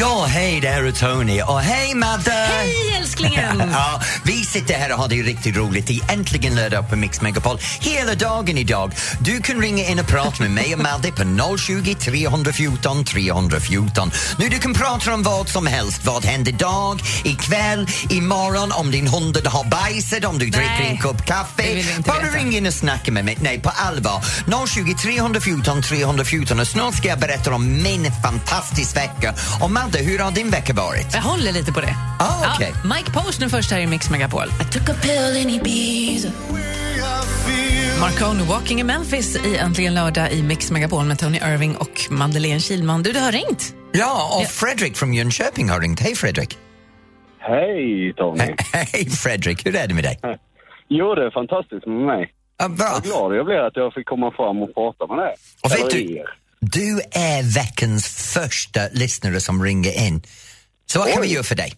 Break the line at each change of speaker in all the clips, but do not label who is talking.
Ja, hej, det här är Tony och hej Madde!
Hej älsklingen!
Ja, vi sitter här och har det ju riktigt roligt i Äntligen lördag på Mix Megapol hela dagen idag. Du kan ringa in och prata med mig och Madde på 020 314 314. Nu du kan prata om vad som helst. Vad händer idag, ikväll, imorgon, om din hund har bajsat, om du dricker en kopp
det
kaffe.
vill vi inte
Bara
veta.
ring in och snacka med mig. Nej, på allvar. 020 314 314 och snart ska jag berätta om min fantastiska vecka. Och Madde, hur har din vecka varit?
Jag håller lite på det.
Ah, okej.
Ja, Mike Posner först här i Mix Megapol. Marcone Walking in Memphis i Äntligen lördag i Mix Megapol med Tony Irving och Madeleine Kilman. Du, det har ringt.
Ja, och Fredrik från Jönköping har ringt. Hej Fredrik!
Hej Tony!
Hej Fredrik, hur är det med dig?
Jo, det är fantastiskt med mig.
Ja, bra.
Vad glad jag blir att jag fick komma fram och prata med dig.
Och vet
Eller
du,
er.
du är veckans första lyssnare som ringer in. Så vad kan
Oj.
vi göra för dig?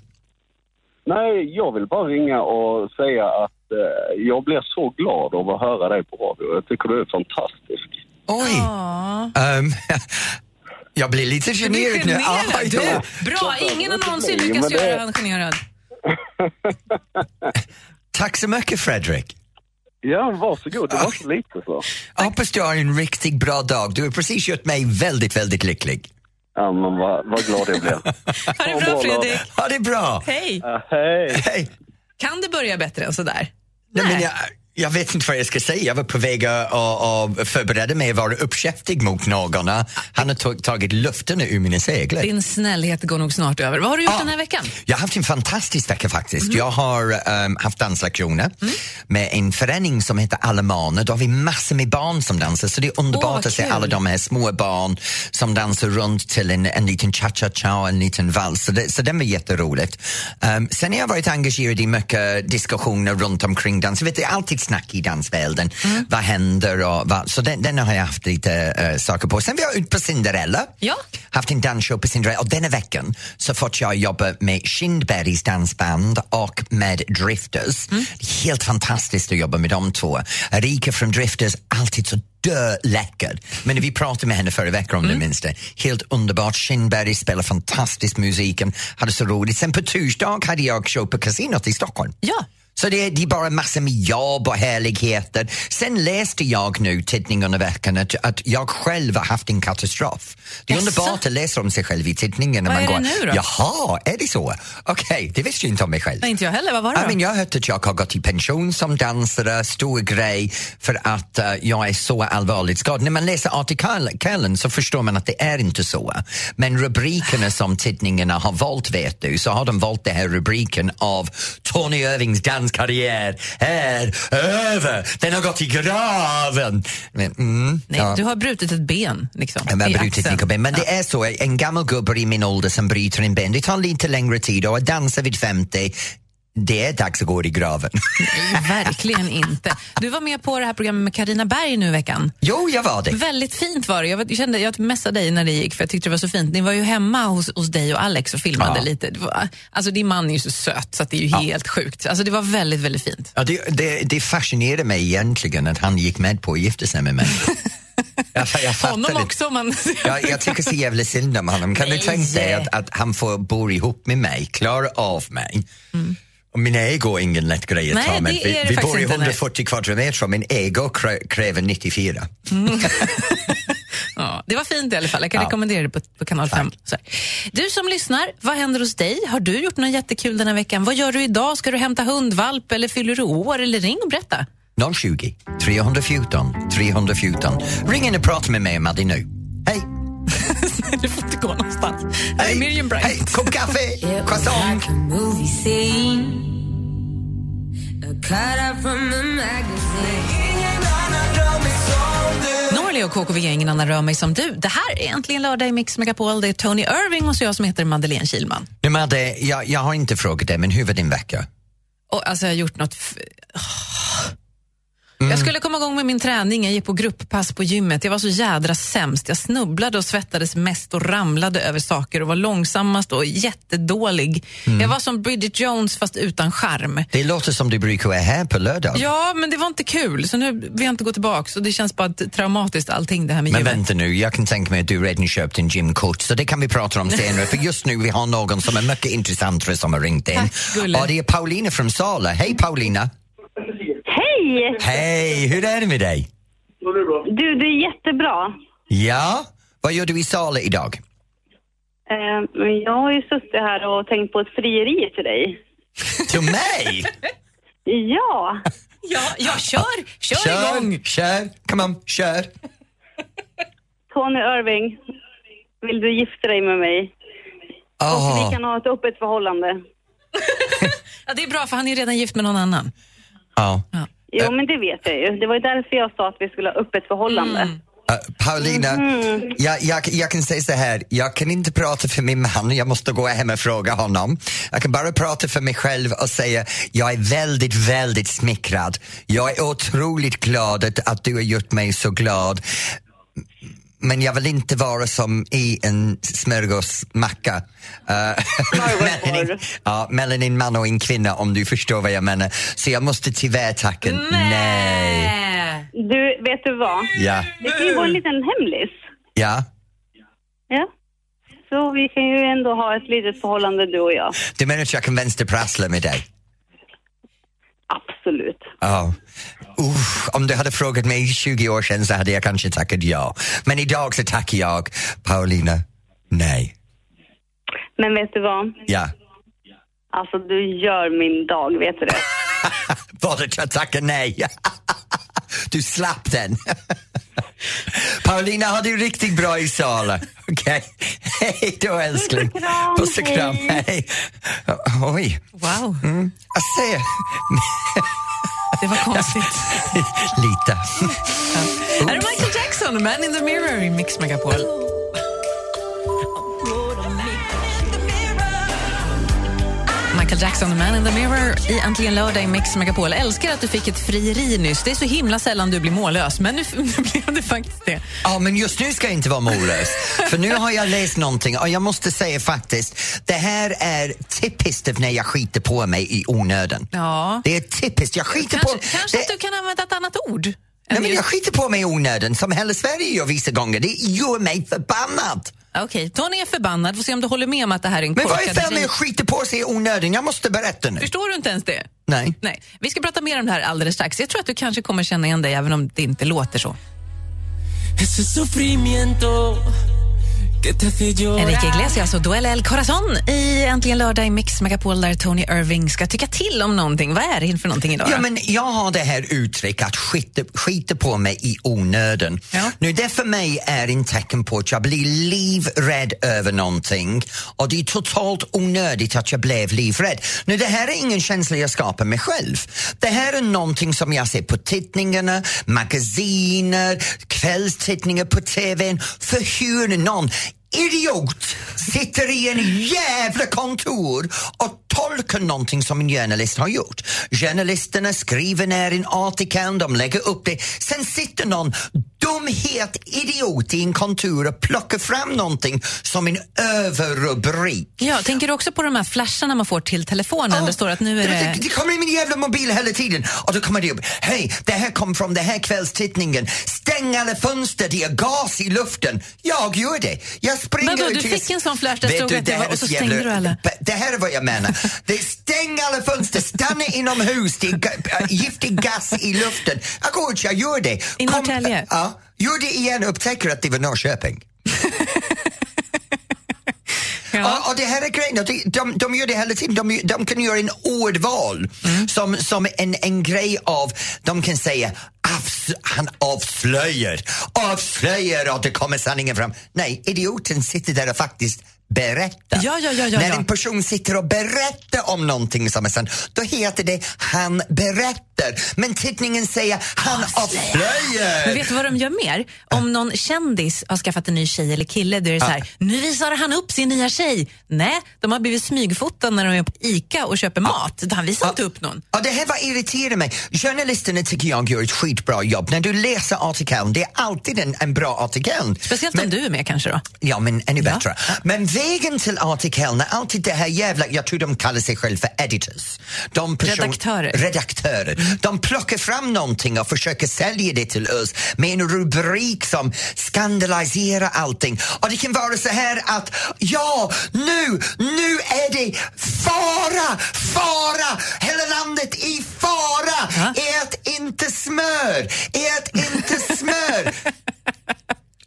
Nej, jag vill bara ringa och säga att eh, jag blir så glad av att höra dig på radio. Jag tycker du är fantastisk.
Oj! Ehm, jag blir lite generad nu.
generad,
Ah,
du.
ja.
Bra, ingen har någonsin
Men
lyckats
det-
göra han generad.
Tack så mycket Fredrik!
Ja, varsågod. Det var så lite så.
Jag hoppas du har en riktigt bra dag. Du har precis gjort mig väldigt, väldigt lycklig.
Ja, men vad, vad glad jag blev.
Ha det
Ja,
bra,
bra,
Fredrik.
Ha det bra!
Hej.
Ja, hej!
Hej.
Kan det börja bättre än sådär?
Nej. men
Nej.
jag, jag vet inte vad jag ska säga. Jag var på väg att att- att förbereda mig att vara uppkäftig mot någon. Han har tog, tagit luften ur mina seglar.
Din snällhet går nog snart över. Vad har du gjort
Ja.
den här veckan?
Jag har haft en fantastisk vecka faktiskt.
Mm.
Jag har ehm, haft danslektioner med en förening som heter Alemaner. Då har vi massor med barn som dansar så det är
Åh,
underbart
vad
att se
kul.
alla de här små barn som dansar runt till en, en liten cha-cha-cha och en liten vals. Så, det, så den var jätteroligt. Um, sen har jag varit engagerad i mycket diskussioner runt omkring dans. Jag vet, det är alltid snack i dansvärlden.
Mm.
Vad händer? Och vad, så den, den har jag haft lite eh, saker på. Sen var jag ute på Cinderella
Ja.
haft en dansshow på Cinderella och denna veckan så fått jag jobba med Kindbergs dansband och med Drifters. Det är helt fantastiskt att jobba med de två. Erika från Drifters, alltid så döläcker. Men vi pratade med henne förra veckan om du minns det. Helt underbart. Kindberg spelar fantastisk musik, hade så roligt. Sen på torsdag hade jag show på Casinot i Stockholm.
Ja.
Så det, är- det är bara massor med jobb och härligheter. Sen läste jag nu, tidningen under veckan, att, att jag själv har haft en katastrof. Det är
Jaså?
underbart att läsa om sig själv i tidningen. när
Vad
man
är det
går,
nu då?
Jaha, är det så? Okej, det visste jag inte om mig själv.
Nej, inte jag heller. Vad var det
Ja,
då?
Ah, men jag har hört att jag har gått i pension som dansare, stor grej, för att eh, jag är så allvarligt skadad. När man läser artikeln så förstår man att det är inte så. Men rubrikerna som tidningarna har valt, vet du, så har de valt den här rubriken av Tony Irvings danskarriär är över, den har gått i graven. Men, mm,
Nej,
ja.
Du har brutit ett ben. Liksom,
Ja, men
i
jag har brutit
axeln.
Nicoben. Men det är så, en gammal gubbe i min ålder som bryter en ben, det tar lite längre tid och att dansa vid 50, det är dags att gå i graven.
Verkligen inte. Du var med på det här programmet med Karina Berg nu i veckan.
jo, jag var det.
Väldigt fint var det. Jag var- jag kände, jag messade dig när det gick för jag tyckte det var så fint. Ni var ju hemma hos, hos dig och Alex och filmade
Ja.
lite. Det var, alltså din man är ju så söt så att det är ju helt sjukt. Alltså det var väldigt, väldigt fint.
Ja, det, det, det fascinerar mig egentligen att han gick med på att gifta sig med mig. jag, jag fattar
Honom
inte.
också om man...
Jag, jag tycker så jävla synd om honom. Kan
Nej.
du tänka dig att, att han får bo ihop med mig, klara av mig? Och min ego är ingen lätt grej att
Mm. Nej,
ta med.
det är
Vi,
det
vi
faktiskt
bor i
inte, nej.
140 kvadratmeter och min ego krä- kräver 94.
Ja, det var fint i alla fall. Jag kan rekommendera det på, på kanal 5. Så här. Du som lyssnar, vad händer hos dig? Har du gjort något jättekul den här veckan? Vad gör du idag? Ska du hämta hundvalp eller fyller du år? Eller ring och berätta.
020 314 314. Ring in och prata med mig och Maddy nu. Hej!
du får inte gå någonstans. Här är
Hej!
Miriam Bryant.
Hej! Kopp kaffe! Croissant!
Norli och KKV, ingen annan rör mig som du. Det här är äntligen lördag i Mix Megapol. Det är Tony Irving och så jag som heter Madeleine Kilman.
Nu, Madde, jag, jag har inte frågat dig, men hur var din vecka?
Och, alltså jag har gjort något... F-
Mm.
Jag skulle komma igång med min träning, jag gick på grupppass på gymmet. Jag var så jädra sämst. Jag snubblade och svettades mest och ramlade över saker och var långsammast och jättedålig.
Mm.
Jag var som Bridget Jones fast utan charm.
Det låter som du brukar vara här på lördag.
Ja, men det var inte kul, så nu vill jag inte gå tillbaka. Och det känns bara traumatiskt allting det här med
Men
gymmet.
vänta nu, jag kan tänka mig att du redan köpt en gymkort så det kan vi prata om senare för just nu vi har någon som är mycket intressant för oss som har ringt in.
Tack, Gulle.
och det är Paulina från Sala. Hej Paulina!
Hej!
Hej, hur är det med dig?
Du, det är jättebra.
Ja, vad gör du i Sala idag?
Eh, men jag har ju suttit här och tänkt på ett frieri till dig.
Till mig?
Ja,
Ja, ja kör, kör, igång!
kör, come on, kör.
Tony Irving, vill du gifta dig med mig?
Åh,
Vi kan ha ett öppet förhållande.
Ja, det är bra, för han är ju redan gift med någon annan.
ja.
Jo, men det vet jag ju. Det var ju därför jag sa att vi skulle ha öppet förhållande.
Eh, Paulina, jag, jag, jag kan säga så här, jag kan inte prata för min man, jag måste gå hem och fråga honom. Jag kan bara prata för mig själv och säga, jag är väldigt, väldigt smickrad. Jag är otroligt glad att, att du har gjort mig så glad. Men jag vill inte vara som i en smörgåsmacka. Eh, mellan, en, ja, mellan en man och en kvinna om du förstår vad jag menar. Så jag måste tyvärr tacka nej.
Äh.
Du, vet du vad?
Ja,
Det kan ju vara en liten hemlis.
ja.
Ja. Så vi kan ju ändå ha ett litet förhållande, du och jag.
Du menar att jag kan vänsterprassla med dig?
Absolut.
Ja. Uff, om du hade frågat mig 20 år sedan så hade jag kanske tackat ja. Men idag så tackar jag Paulina nej.
Men vet du vad?
Ja.
Alltså, du gör min dag, vet du det?
Både att jag tackar nej. Du slapp den. Paulina, har du riktigt bra i salen. Okej. Hej då älskling.
Puss och kram,
Puss och kram. Hej. Oj,
Wow,
jag ser
det var konstigt.
lite.
Här är Michael Jackson, Man in the Mirror i Mix Megapol. Michael Jackson, Man in the Mirror i Äntligen lördag i Mix Megapol. Älskar att du fick ett frieri nyss. Det är så himla sällan du blir mållös, men nu, nu blev det faktiskt det.
Ja, men just nu ska jag inte vara morös. För nu har jag läst någonting och jag måste säga faktiskt, det här är typiskt av när jag skiter på mig i onödan.
Ja.
Det är typiskt, jag skiter
Kanske,
på
kanske
det-
att du kan använda ett annat ord. än
Nej, men
just-
jag skiter på mig i onödan som hela Sverige gör vissa gånger. Det gör mig förbannad.
Okej, Tony är förbannad. Får se om du håller med om att det här är en
Men vad är
korkad
fel med att
rit.
skita på sig i onödan? Jag måste berätta nu.
Förstår du inte ens det?
Nej.
Nej. Vi ska prata mer om det här alldeles strax. Jag tror att du kanske kommer känna igen dig även om det inte låter så. Enrique Iglesias och Duell El Corazon i Äntligen lördag i Mix Megapol där Tony Irving ska tycka till om någonting. Vad är det för någonting idag? då?
Ja, men jag har det här uttrycket att skita, skita på mig i onödan.
Ja.
Nu, det för mig är en tecken på att jag blir livrädd över någonting och det är totalt onödigt att jag blev livrädd. Nu, det här är ingen känsla jag skapar mig själv. Det här är någonting som jag ser på tidningarna, magasiner, kvällstidningar på TVn. För hur någon idiot sitter i en jävla kontor och tolkar någonting som en journalist har gjort. Journalisterna skriver ner en artikel, de lägger upp det. Sen sitter någon dumhet idiot i en kontor och plockar fram någonting som en överrubrik.
Ja, tänker du också på de här flasharna man får till telefonen?
Ja.
Det står att nu är det...
det... Det kommer i min jävla mobil hela tiden och då kommer det upp. Hej, det här kom från den här kvällstidningen. Stäng alla fönster, det är gas i luften. Jag gör det. Jag springer
Vadå,
ut
du
till-
fick en sån flash där
Vet
stod
du,
att det
här
var- och så
är jävla-
stängde du alla.
B- Det här är vad jag menar. Det är stäng alla fönster, stanna inomhus, det är ga- äh, giftig gas i luften. Jag går ut, jag gör det. Kom-
I Norrtälje?
Ja, gör det igen och upptäcker att det var Norrköping. Och, och det här är grejen, att de, de, de gör det hela tiden. De, de kan göra en ordval
Mm.
som, som en, en grej av, de kan säga "Avs- han avslöjar, avslöjar och det kommer sanningen fram. Nej, idioten sitter där och faktiskt berättar.
Ja, ja, ja, ja,
När
ja.
en person sitter och berättar om någonting som är sant, då heter det han berättar. katter. Men tidningen säger han
Men
avslöjar.
vet du vad de gör mer? Om någon kändis har skaffat en ny tjej eller kille, då är det så här, nu visar han upp sin nya tjej. Nej, de har blivit smygfotade när de är på ICA och köper mat. Han visar inte upp någon.
Ja, det här var irriterar mig. Journalisterna tycker jag gör ett skitbra jobb. När du läser artikeln, det är alltid en, en bra artikel.
Speciellt om du är med kanske då.
Ja, men ännu bättre. Men vägen till artikeln är alltid det här jävla... Jag tror de kallar sig själva för editors. De person-
Redaktörer.
Redaktörer. De plockar fram någonting och försöker sälja det till oss med en rubrik som skandaliserar allting. Och det kan vara så här att ja, nu, nu är det fara, fara! Hela landet i fara! Ät inte smör! Ät inte smör!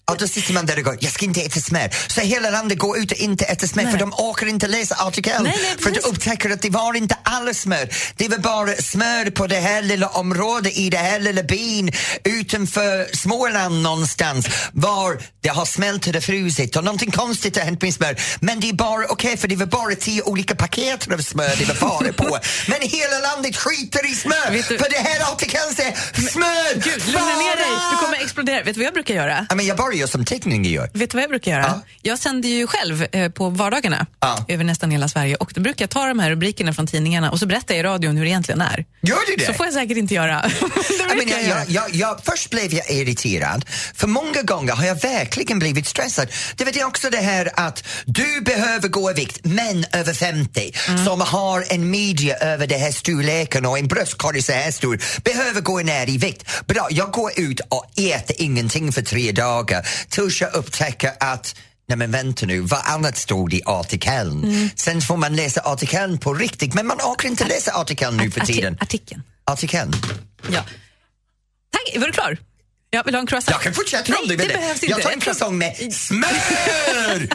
Ja, då sitter man där och går, jag ska inte äta smör. Så hela landet går ut och inte äter smör för de orkar inte läsa artikeln.
Nej, nej,
för de
precis.
upptäcker att det var inte alls smör. Det var bara smör på det här lilla området i det här lilla byn utanför Småland någonstans var det har smält och frusit och någonting konstigt har hänt med smör. Men det är bara okej för det var bara tio olika paket av smör det var fara på. Men hela landet skiter i
Vet du-
smör för det här artikeln säger smör!
Gud, lugna ner dig,
fara!"
du kommer explodera. Vet du vad jag brukar göra?
Ja, men jag bara gör som tekniker gör.
Vet du vad jag brukar göra?
Ja.
Jag sänder ju själv eh, på vardagarna
Ja.
över nästan hela Sverige och då brukar jag ta de här rubrikerna från tidningarna och så berättar jag i radion hur det egentligen är.
Gör du det?
Så får jag säkert inte göra. det brukar
Ja, men jag,
göra.
jag, jag, jag, först blev jag irriterad, för många gånger har jag verkligen blivit stressad. Det vet jag också det här att du behöver gå i vikt, män över 50
Mm.
som har en midja över det här storleken och en bröstkorg så här stor behöver gå ner i vikt. Bra, jag går ut och äter ingenting för tre dagar tills jag upptäcker att Nej men vänta nu, vad annat stod i artikeln?
Mm.
Sen får man läsa artikeln på riktigt, men man orkar inte läsa artikeln nu för
Arti-
tiden.
Artikeln.
Artikeln?
Ja. Tack, var du klar? Ja, vill du ha en croissant?
Jag kan fortsätta om
Nej,
du vill
det behövs
Jag
inte.
tar en
Jag tror-
kalsong med smör!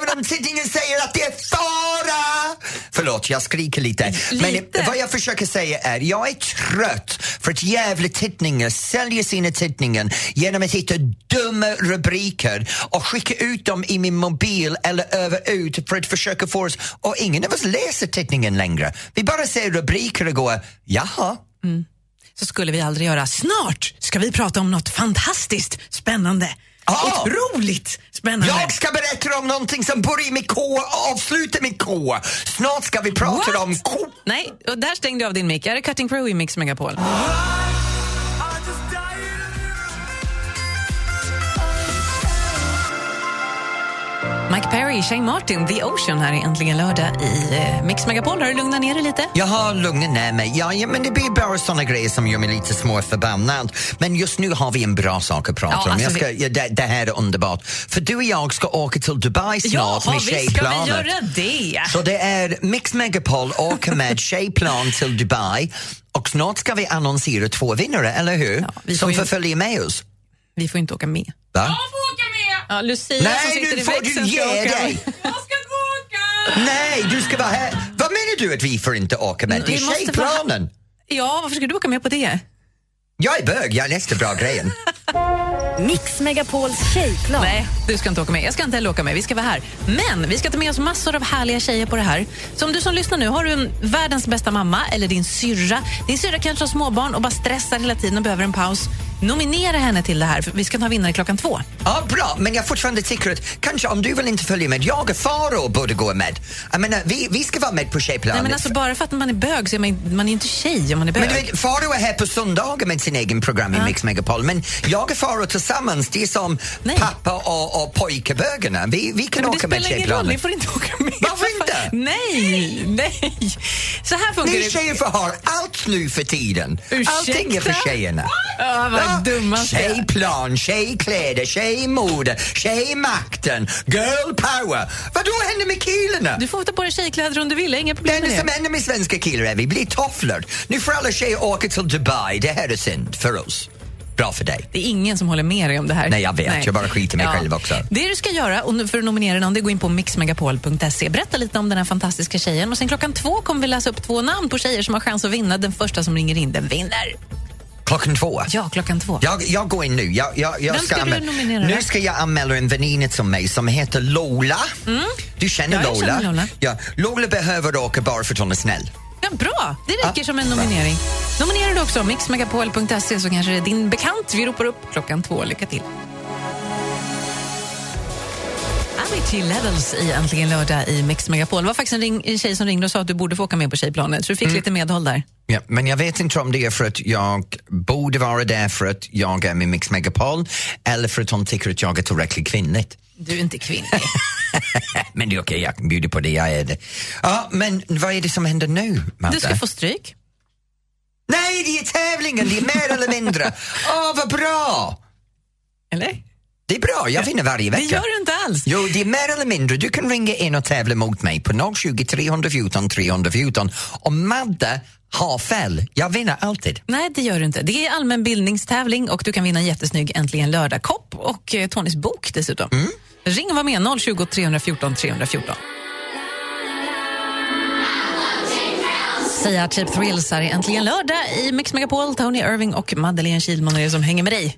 Även om tidningen säger att det är fara! Förlåt, jag skriker lite.
Lite.
Men eh, vad jag försöker säga är, jag är trött för att jävla tidningar säljer sina tidningar genom att hitta dumma rubriker och skicka ut dem i min mobil eller över ut för att försöka få oss... Och ingen av oss läser tidningen längre. Vi bara ser rubriker och går, jaha.
Så skulle vi aldrig göra. Snart ska vi prata om något fantastiskt spännande.
Ja.
Otroligt spännande.
Jag ska berätta om någonting som börjar med K och avslutar med K. Snart ska vi prata
What?
om K.
Nej, och där stängde jag av din mick. Jag hade Cutting Crew i Mix Megapol. Mike Perry, Shane Martin, The Ocean här är äntligen lördag i eh, Mix Megapol. Har du lugnat ner dig lite?
Jag har lugnat ner mig. Ja, ja, men det blir bara såna grejer som gör mig lite småförbannad. Men just nu har vi en bra sak att prata
Ja,
om.
alltså
jag ska,
vi-
ja, det, det här är underbart. För du och jag ska åka till Dubai snart
Jaha,
med
vi ska
tjejplanet.
vi göra det?
Så det är Mix Megapol åker med tjejplan till Dubai och snart ska vi annonsera två vinnare, eller hur?
Ja, vi får
som
ju-
förföljer med oss.
Vi får inte åka med.
Va?
Ja, Lucia som
Nej,
sitter
nu
i
får
växeln
du
ska
ge
åka.
dig! Nej, du ska vara här. Vad menar du att vi får inte åka med? Det
Vi måste
är tjejplanen.
Ja, varför ska du åka med på det?
Jag är bög, jag läste bra grejen.
Mix Megapols tjejplan.
Nej, du ska inte åka med. Jag ska inte heller åka med. Vi ska vara här. Men vi ska ta med oss massor av härliga tjejer på det här. Så om du som lyssnar nu, har du en världens bästa mamma eller din syrra. Din syrra kanske har småbarn och bara stressar hela tiden och behöver en paus. Nominera henne till det här, för vi ska ta vinnare klockan två.
Ja, bra, men jag fortfarande tycker att kanske om du vill inte följa med, jag och Faro borde gå med. Jag menar, vi, vi ska vara med på tjejplanen.
Nej, men alltså, bara för att man är bög så är man, man är inte tjej om man är bög.
Men du vet, Faro är här på söndagar med sin egen program i Mix Megapol men jag och Faro tillsammans, det är som
Nej.
pappa och, och pojkebögarna. Vi, vi kan
Men det
åka med
spelar ingen roll, ni
tjejplanen.
får inte åka med.
Varför inte?
Nej, nej. Så här funkar
Ni
det.
tjejer får ha allt nu för tiden. Allting är för
Ursäkta?
tjejerna.
Ja, vad
Ja.
dumma
Tjejplan, tjejkläder, tjejmode, tjejmakten, girl power. Vad då händer med killarna?
Du får ta på dig tjejkläder om du vill, inga
Det
problem med
enda
det.
som händer med svenska killar är vi blir tofflor. Nu får alla tjejer åka till Dubai. Det här är synd för oss. Bra för dig.
Det är ingen som håller med dig om det här.
Nej, jag vet. Jag bara skiter i mig själv också.
Det du ska göra och nu för att nominera någon, det är att gå in på mixmegapol.se. Berätta lite om den här fantastiska tjejen. Och sen klockan två kommer vi läsa upp två namn på tjejer som har chans att vinna. Den första som ringer in, den vinner.
Klockan två.
Ja, klockan två.
Jag, jag går in nu. Jag, jag, jag
Vem ska du
anmäla-
nominera
Nu
då?
ska jag anmäla en väninna till mig som heter Lola. Du känner
Mm. Ja, jag
Lola.
känner Lola.
Ja, Lola behöver åka bara för att hon är snäll.
Ja, bra, det räcker som en nominering. Nominerar du också mixmegapol.se så kanske det är din bekant vi ropar upp klockan två. Lycka till! Avicii Levels i Äntligen lördag i Mix Megapol. Det var faktiskt en, ring, en tjej som ringde och sa att du borde få åka med på tjejplanet, så du fick
Mm.
lite medhåll där.
Ja, men jag vet inte om det är för att jag borde vara där för att jag är med Mix Megapol eller för att de tycker att jag är tillräckligt kvinnligt.
Du är inte kvinnlig.
Men det är okej, jag kan bjuda på det, jag är det. Ja, men vad är det som händer nu, Madde?
Du ska få stryk.
Nej, det är tävlingen, det är mer eller mindre. Åh, vad bra!
Eller?
Det är bra, jag vinner varje
Det
vecka.
gör du inte alls.
Jo, det är mer eller mindre. Du kan ringa in och tävla mot mig på 020 314 314. Om Madde har fel, jag vinner alltid.
Nej, det gör du inte. Det är allmän bildningstävling och du kan vinna en jättesnygg Äntligen lördag-kopp och eh, Tonys bok dessutom.
Mm.
Ring och var med 020 314 314. Säga Cheap Thrills här i Äntligen lördag i Mix Megapol. Tony Irving och Madeleine Kilman är det som hänger med dig.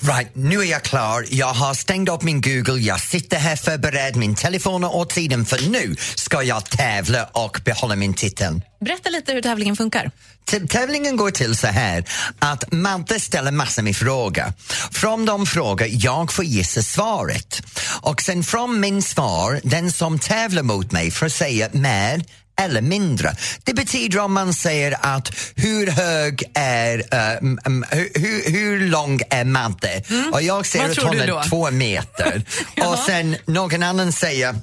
Right, nu är jag klar. Jag har stängt upp min Google, jag sitter här förberedd, min telefon är åt sidan för nu ska jag tävla och behålla min titel.
Berätta lite hur tävlingen funkar.
T- Tävlingen går till så här att Madde ställer massor med frågor. Från de frågor jag får gissa svaret. Och sen från min svar, den som tävlar mot mig får säga mer eller mindre. Det betyder om man säger att hur hög är, eh, m- m- hur, hur, hur lång är Madde? Och jag
Mm. Vad
säger att
tror
hon
du
är
då?
två meter.
Ja.
Och sen någon annan säger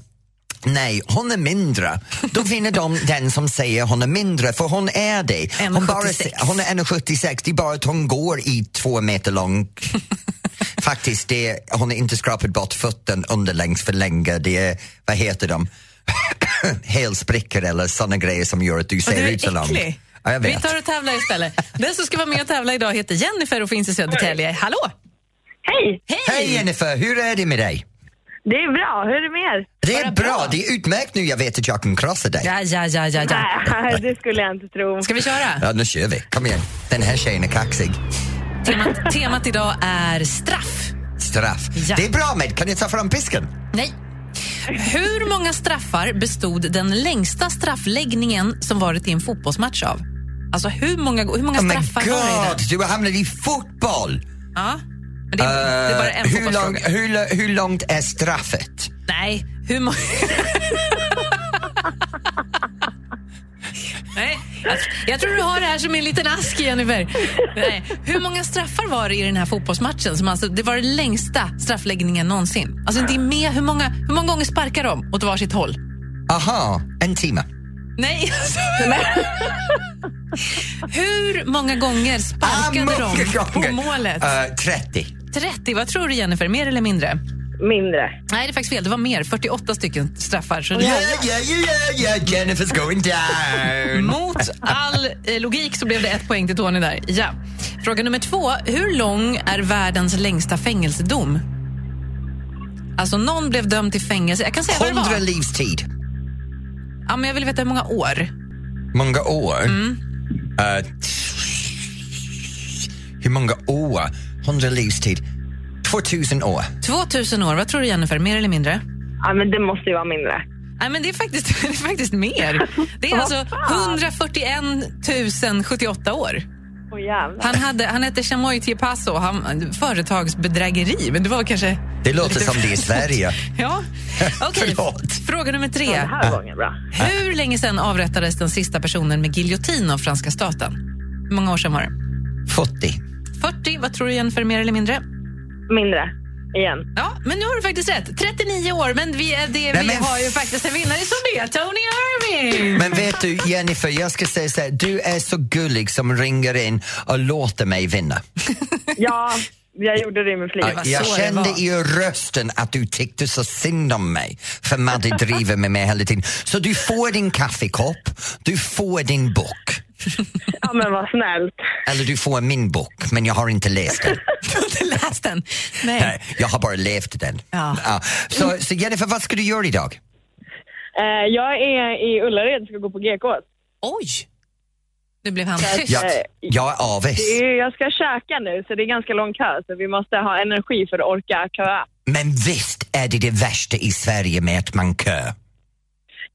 Nej, hon är mindre. Då vinner de den som säger hon är mindre, för hon är det. Hon, bara,
1,76.
se- hon är 1,76, det är bara att hon går i två meter lång. Faktiskt, det är, hon har inte skrapat bort fötten underlängs för länge. Det är, vad heter de, helsprickor eller såna grejer som gör att du
Och
ser
du
ut så
är
lång.
äcklig.
Ja, jag
Vi
vet.
tar och tävlar istället. Den som ska vara med och tävla idag heter Jennifer och finns i Södertälje. Hallå!
Hej!
Hej Jennifer, hur är det med dig?
Det är bra, hur är det med er?
Det är bra, det är utmärkt nu jag vet att jag kan krossa dig.
Ja, ja, ja, ja, ja.
Nej, det skulle jag inte tro.
Ska vi köra?
Ja, nu kör vi. Kom igen, den här tjejen är kaxig.
Temat, temat idag är straff.
Straff.
Ja.
Det är bra med. Kan du ta fram pisken?
Nej. Hur många straffar bestod den längsta straffläggningen som varit i en fotbollsmatch av? Alltså hur många, hur många
Oh my
straffar var det i
god,
den?
du hamnade i fotboll!
Ja. Men det, är, det är bara en
Eh, hur,
fotbollsfråga.
lång, hur, lo- hur långt är straffet?
Nej, hur många... Nej, jag, jag tror du har det här som en liten ask, Jennifer. Nej. Hur många straffar var det i den här fotbollsmatchen? Som alltså, det var den längsta straffläggningen någonsin. Alltså, det är med, hur, många, hur många gånger sparkar de åt varsitt håll?
Aha, en timme.
Nej, alltså. Hur många gånger sparkade
Ah,
de
många
på
gånger.
målet?
Eh, 30.
30, vad tror du Jennifer? Mer eller mindre?
Mindre.
Nej, det är faktiskt fel. Det var mer. 48 stycken straffar. Så
Yeah, yeah, yeah, yeah, yeah, Jennifer's going down!
Mot all eh, logik så blev det ett poäng till Tony där. Ja. Fråga nummer två. Hur lång är världens längsta fängelsedom? Alltså någon blev dömd till fängelse. Jag kan säga vad det
100
var.
livstid.
Ja, men jag vill veta hur många år.
Många år?
Mm.
Eh, t- hur många år? 100 livstid. 2000 år.
2000 år. Vad tror du Jennifer? Mer eller mindre?
Ja, men det måste ju vara mindre.
Nej, men det är faktiskt, det är faktiskt mer. Det är
Vad
alltså
fan?
141 078 år.
Åh jävlar.
Han, hade, han hette Chamoy Tiepasso, han företagsbedrägeri. Men det var kanske...
Det låter som det i Sverige.
Ja. Okej,
Förlåt.
fråga nummer
Den
tre.
här gången bra.
Hur länge sedan avrättades den sista personen med giljotin av franska staten? Hur många år sedan var det?
40.
40, vad tror du Jennifer, mer eller mindre?
Mindre. Igen.
Ja, men nu har du faktiskt rätt. 39 år, men vi, är- det, vi
men-
har ju faktiskt en vinnare som det är Tony Irving!
Men vet du Jennifer, jag ska säga så här, du är så gullig som ringer in och låter mig vinna.
Ja, jag gjorde det med flit.
var så
jag
det
kände
var.
i rösten att du tyckte så synd om mig för Madde driver med mig hela tiden. Så du får din kaffekopp, du får din bok.
Ja, men vad snällt.
Eller du får min bok, men jag har inte läst den.
Du har inte läst den? Nej.
Nej, jag har bara levt den.
Ja.
Så, så Jennifer, vad ska du göra idag?
Eh, jag är i Ullared, ska gå på GK.
Oj! Nu blev han tyst.
Jag, jag är avis.
Eh, Det är- Jag ska käka nu, så det är ganska lång kö. Så vi måste ha energi för att orka köa.
Men visst är det det värsta i Sverige med att man kör?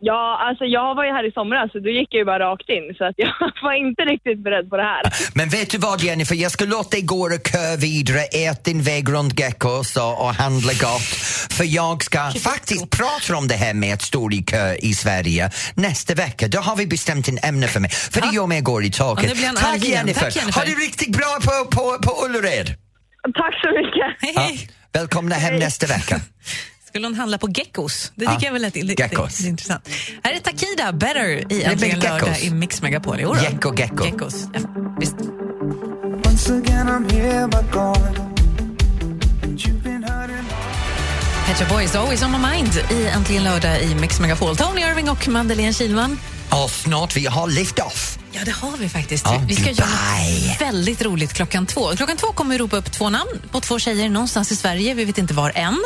Ja, alltså jag var ju här i somras och då gick jag ju bara rakt in så att jag var inte riktigt beredd på det här.
Men vet du vad Jennifer, jag ska låta dig gå och kö vidare, ät din väg runt Geckos och, och handla gott. För jag ska faktiskt prata om det här med att stå i kö i Sverige nästa vecka. Då har vi bestämt en ämne för mig, för det gör mig går i
Ja,
taket.
nu blir han arg
Tack,
igen.
Jennifer.
Tack, Jennifer.
Ha det riktigt bra på, på, på Ullared.
Tack så mycket!
Ja.
Hej.
Välkomna hem nästa vecka.
Skulle hon handla på geckos? Det tycker
Ja,
jag väl lät det,
geckos.
Det, det är intressant. Här är Takida, Better, i Äntligen
blir
lördag
geckos.
i Mix Megapol. Jo då.
Gecko, gecko.
Geckos. Ja, visst. Pet Shop Boys, Always On My Mind i Äntligen lördag i Mix Megapol. Tony Irving och Madeleine Kilman.
Och snart vi har lift off.
Ja, det har vi faktiskt.
Ja,
vi ska göra
Dubai.
något väldigt roligt klockan två. Klockan två kommer vi ropa upp två namn på två tjejer någonstans i Sverige. Vi vet inte var än.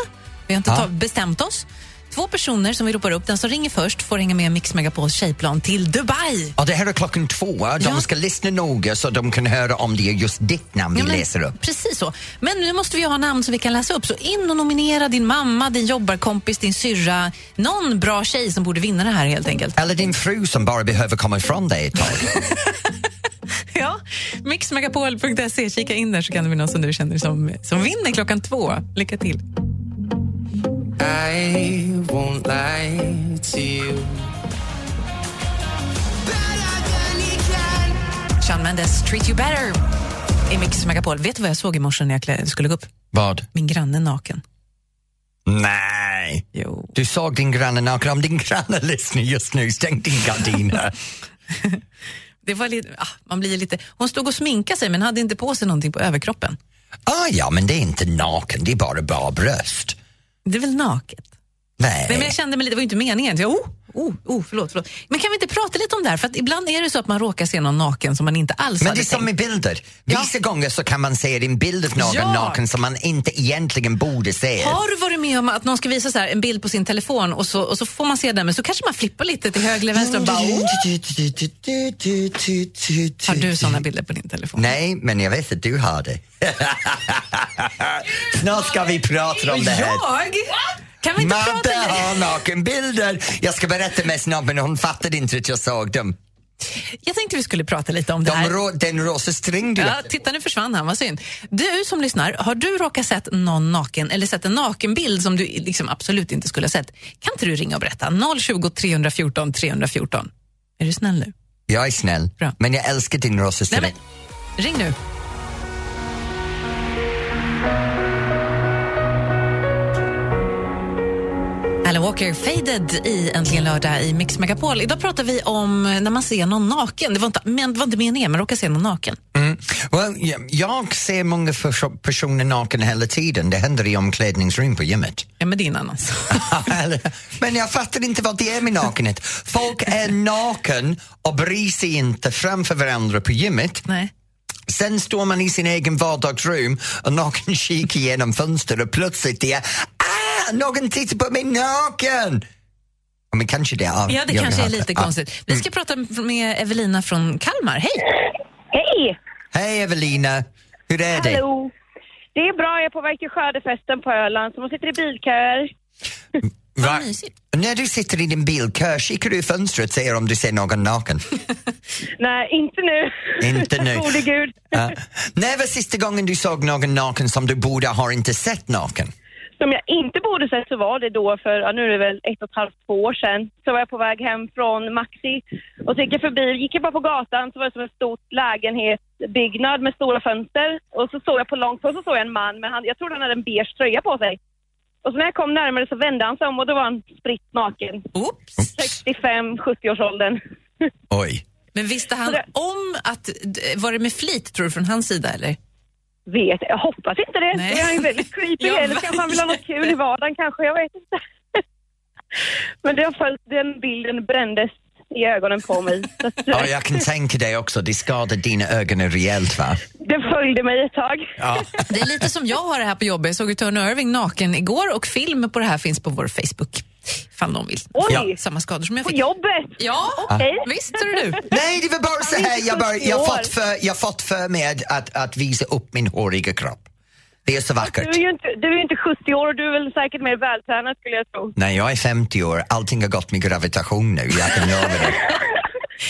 Vi har inte
Ja.
ta- bestämt oss. Två personer som vi ropar upp. Den som ringer först får hänga med Mix Megapols tjejplan till Dubai.
Och det här är klockan två. De
Ja.
ska lyssna noga så de kan höra om det är just ditt namn vi
Ja, men-
läser upp.
Precis så. Men nu måste vi ha namn som vi kan läsa upp. Så in och nominera din mamma, din jobbarkompis, din syrra. Någon bra tjej som borde vinna det här helt enkelt.
Eller din fru som bara behöver komma ifrån dig ett tag.
Ja, mixmegapol.se. Kika in där så kan det bli någon som du känner som, som vinner klockan två. Lycka till. Sean Mendes, Treat You Better i Mix Megapol. Vet du vad jag såg i morse när jag klä- skulle gå upp?
Vad?
Min granne naken.
Nej!
Jo.
Du såg din granne naken. Om din granne lyssnar just nu, stäng din gardiner.
Det var lite, ah, man blir lite... Hon stod och sminkade sig men hade inte på sig någonting på överkroppen.
ah, ja, men det är inte naken, det är bara bra bröst.
Det är väl naket?
Nej.
Nej, men jag kände mig lite, det var ju inte meningen. Så jag, oh, oh, oh, förlåt, förlåt. Men kan vi inte prata lite om det här? För att ibland är det så att man råkar se någon naken som man inte alls
Men
hade
det är som
tänkt.
med bilder. Vissa gånger så kan man se en bild av någon
Ja.
naken som man inte egentligen borde se.
Har du varit med om att någon ska visa så här en bild på sin telefon och så, och så får man se den men så kanske man flippar lite till höger eller vänster och bara oh. Har du såna bilder på din telefon?
Nej, men jag vet att du har det. Snart ska vi prata om det här.
Jag? Kan vi inte
Madde
prata lite?
har nakenbilder! Jag ska berätta med snabbt men hon fattade inte att jag såg dem.
Jag tänkte vi skulle prata lite om det
De
här.
rå, den rosa string du
Ja, titta nu försvann han, vad synd. Du som lyssnar, har du råkat sett någon naken eller sett en nakenbild som du liksom absolut inte skulle ha sett? Kan inte du ringa och berätta? 020 314 314. Är du snäll nu?
Jag är snäll,
Bra.
men jag älskar din rosa
Nej,
string.
men, ring nu. Alan Walker, Faded i Äntligen lördag i Mix Megapol. Idag pratar vi om när man ser någon naken. Det var inte, men, det var inte meningen, man råkar se någon naken.
Well, jag, jag ser många pers- personer naken hela tiden. Det händer i omklädningsrum på gymmet.
Ja, men det är en annan sak.
men jag fattar inte vad det är med nakenhet. Folk är naken och bryr sig inte framför varandra på gymmet.
Nej.
Sen står man i sin egen vardagsrum och naken kikar genom fönstret och plötsligt det är ah, någon tittar på mig naken! Ja, Men kanske det är.
Ja, Mm. det
jag
kanske är
har-
lite
ja.
konstigt. Vi ska prata med Evelina från Kalmar. Hej!
Hej!
Hej Evelina, hur är det?
Hallå! Det är bra, jag är på väg till skördefesten på Öland så man sitter i bilköer.
Va?
mysigt.
När du sitter i din bilkö, kikar du i fönstret och ser om du ser någon naken?
Nej, inte nu.
Inte nu.
Gode gud.
Ja. När var sista gången du såg någon naken som du borde ha inte sett naken?
Som jag inte borde sett så var det då för, ja, nu är det väl ett och ett halvt, två år sedan. Så var jag på väg hem från Maxi och så gick jag förbi, gick jag bara på gatan så var det som en stor lägenhetsbyggnad med stora fönster. Och så såg jag på långt håll så såg jag en man, men han, jag trodde han hade en beige tröja på sig. Och så när jag kom närmare så vände han sig om och då var han spritt naken.
Oops.
65-70 års åldern.
Oj.
Men visste han
Sådär.
om att... d- Var det med flit, tror du, från hans sida? Eller?
vet jag hoppas inte det.
Nej.
Det är ju väldigt creepy.
Ja,
Eller kanske han vill ha något kul i vardagen kanske, jag vet inte. Men det har följt, den bilden brändes i ögonen på mig. Så att,
Ja, jag kan tänka dig också, det skadar dina ögon rejält va?
Den följde mig ett tag.
Ja.
Det är lite som jag har det här på jobbet. Jag såg ju Tony Irving naken igår och film på det här finns på vår Facebook. Ifall någon vill.
Oj!
Ja.
Samma skador som jag
På
fick.
jobbet!
Ja,
Okej.
visst är det du.
Nej, det var bara så här. Jag, bara, jag,
år.
fått för, jag fått för mig att, att visa upp min håriga kropp. Det Alltså, är så
Du
vackert.
är ju inte, du är ju inte 70 år och du är väl säkert mer vältränad skulle jag tro.
När jag är 50 år, allting har gått med gravitation nu. Jag kan göra det.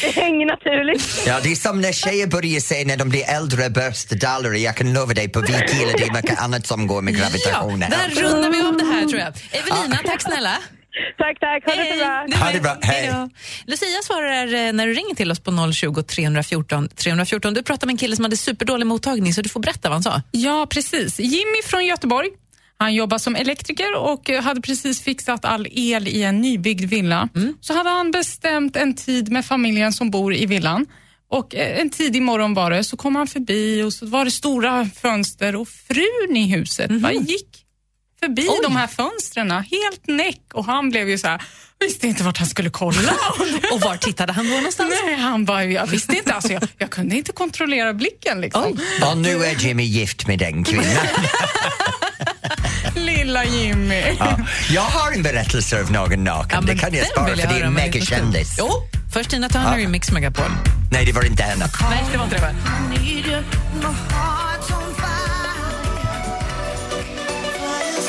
Det hänger naturligt.
Ja, det är som när tjejer börjar säga när de blir äldre böstdalare. Jag kan lova dig, på vi killar det är mycket annat som går med gravitationen.
där rundar vi av det här tror jag. Evelina, tack snälla.
Tack, tack. Ha det så bra.
Du
Ha
med.
det bra. Hej.
då. Lucia svarar eh, när du ringer till oss på 020 314 314. Du pratade med en kille som hade superdålig mottagning så du får berätta vad han sa.
Ja, precis. Jimmy från Göteborg. Han jobbar som elektriker och eh, hade precis fixat all el i en nybyggd villa. Så hade han bestämt en tid med familjen som bor i villan. Och eh, en tidig morgon var det, så kom han förbi och så var det stora fönster och frun i huset bara gick förbi de här fönstren, helt näck och han blev ju så här, visste inte vart han skulle kolla.
Och var tittade han då någonstans?
Nej, han bara, jag visste inte, alltså, jag, jag kunde inte kontrollera blicken liksom.
Och nu är Jimmy gift med den kvinnan.
Lilla Jimmy.
Ja. Jag har en berättelse av någon naken. det
men
kan jag
den
spara
vill
för det är
höra
en
om jag förstår.
megakändis.
Jo, först Tina Turner i Mix Megapol.
Nej, det var inte henne.
Nej, det var inte det.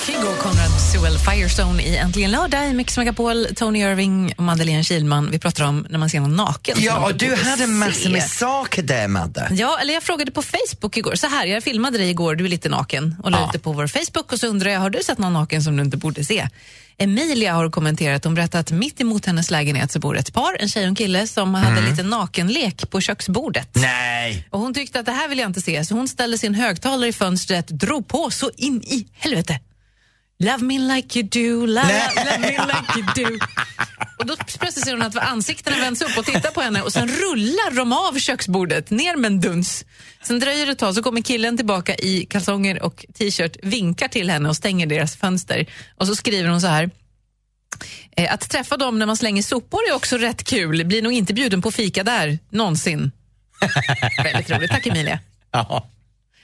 Kygo och Konrad Sewell Firestone i Äntligen lördag i Mix Megapol. Tony Irving och Madeleine Kilman. Vi pratar om när man ser någon naken. som
Ja,
man
och
inte
du
borde
hade massor med
se.
saker där, Madde.
Ja, eller jag frågade på Facebook igår. Så här, jag filmade dig igår, du är lite naken och la ut det på vår Facebook och så undrar jag, har du sett någon naken som du inte borde se? Emilia har kommenterat, hon berättade att mitt emot hennes lägenhet så bor ett par, en tjej och en kille som hade lite nakenlek på köksbordet.
Nej.
Och hon tyckte att det här vill jag inte se, så hon ställde sin högtalare i fönstret, drog på så in i helvete. Love me like you do, la, la, love me like you do. Och då plötsligt ser hon att ansiktena vänds upp och tittar på henne och sen rullar de av köksbordet ner med en duns. Sen dröjer det ett tag så kommer killen tillbaka i kalsonger och t-shirt, vinkar till henne och stänger deras fönster. Och så skriver hon så här. Eh, Att träffa dem när man slänger sopor är också rätt kul. Blir nog inte bjuden på fika där, någonsin. Väldigt roligt. Tack Emilia.
Ja.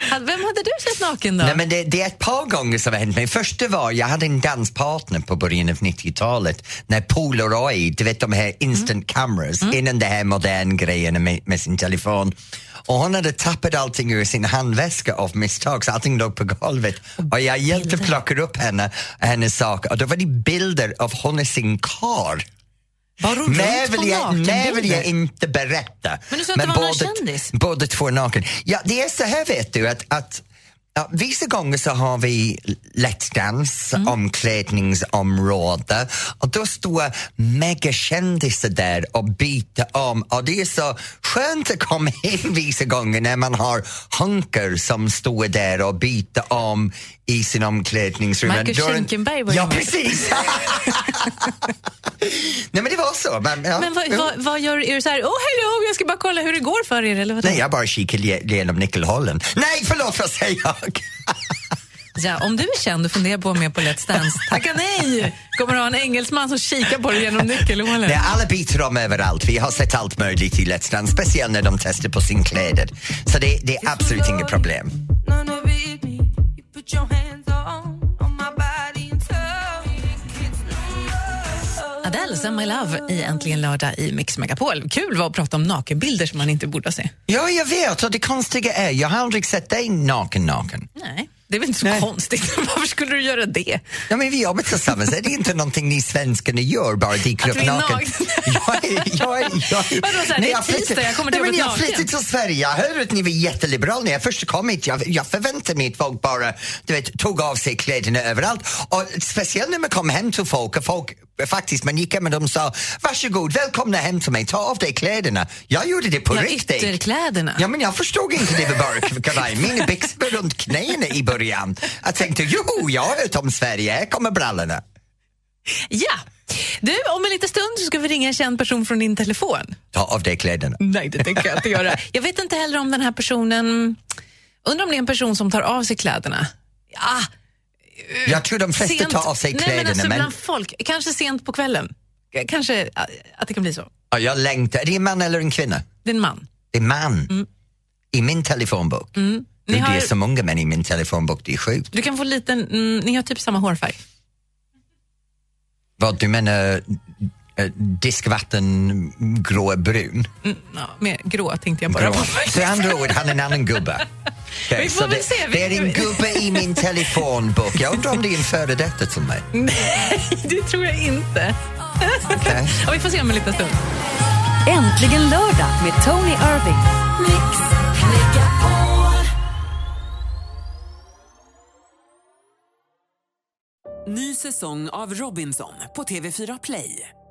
Hade- Vem hade du sett naken då?
Nej, men det, det är ett par gånger som har hänt mig. Första var, jag hade en danspartner på början av 90-talet när Polaroid, du vet de här instant cameras, innan det här modern grejerna med, med sin telefon. Och hon hade tappat allting ur sin handväska av misstag så allting låg på golvet. Och jag hjälpte plocka upp henne, hennes saker och då var det bilder av hon och sin karl.
Bara runt
Nej
på
vill, jag, nej vill jag
nakenbilder.
inte berätta.
Men du sa att det var någon kändis.
Båda två naken. Ja, det är så här vet du att, att ja, vissa gånger så har vi Let's Dance,
Mm.
omklädningsområde och då står megakändisar där och byter om och det är så skönt att komma hem vissa gånger när man har hunkar som står där och byter om i sin omklädningsrum.
Marcus
Då är det-
Schenkenberg var ju
Ja,
med.
precis! Nej men det var så. Men, ja.
Men vad,
Jo.
vad, vad gör Är du så här, oh hello, jag ska bara kolla hur det går för er? Eller vad
Nej, jag bara kikade ge- genom nyckelhålen. Nej, förlåt, vad säger jag?
ja, om du är känd och funderar på att vara med på Let's Dance, tacka nej! Kommer du ha en engelsman som kikar på dig genom nyckelhålen?
Nej, alla byter om överallt. Vi har sett allt möjligt i Let's Dance, speciellt när de testar på sin kläder. Så det, det är absolut inget problem.
Adele, Send My Love i Äntligen lördag i Mix Megapol. Kul var att prata om nakenbilder som man inte borde se.
Ja, jag vet. Och det konstiga är, jag har aldrig sett dig naken naken.
Nej, det är väl inte så konstigt. Varför skulle du göra det?
Ja, men vi jobbar tillsammans. är det inte någonting ni svenskar ni gör, bara dyker
Att
upp
vi är
naken?
nakna.
jag är, jag är, jag är,
Vadå, så här, det är tisdag, jag kommer till
nej, men
jobbet
jag
naken.
flyttade till Sverige. Jag hörde att ni var jätteliberala när jag först kom hit. Jag, jag förväntade mig att folk bara du vet, tog av sig kläderna överallt. Och speciellt när man kom hem till folk och folk faktiskt, man gick hem och de sa varsågod, välkomna hem till mig, ta av dig kläderna. Jag gjorde det på
Ja,
riktigt.
ytterkläderna.
Ja, men jag förstod inte det med bara kavaj. Mina byxor var runt knäna i början. Jag tänkte, jo, jag har hört om Sverige, här kommer brallorna.
Ja! Du, om en liten stund så ska vi ringa en känd person från din telefon.
Ta av dig kläderna.
Nej, det tänker jag inte göra. Jag vet inte heller om den här personen... Undrar om det är en person som tar av sig kläderna. Ah,
Jag tror de flesta tar av sig
Nej, men
kläderna,
alltså
men,
bland folk. Kanske sent på kvällen. K- Kanske ah, att det kan bli så.
ja, jag längtar. Är det en man eller en kvinna?
Det är en man.
Det är man. I min telefonbok. Du,
Mm. Ni har-
Det är så många män i min telefonbok, det är sjukt.
Du kan få liten... Mm, ni har typ samma hårfärg.
Vad du menar, eh, diskvatten grå brun?
Mm, ja, mer grå tänkte jag bara
Grå.
på.
Så andra ord, han är en annan gubbe. Okej,
Vi får
så
väl
det,
se, vi-
det är en gubbe i min telefonbok. Jag undrar om det är en före detta till mig.
Nej, det tror jag inte. Ja, vi får se om en liten stund.
Äntligen lördag med Tony Irving.
Ny säsong av Robinson på TV4 Play.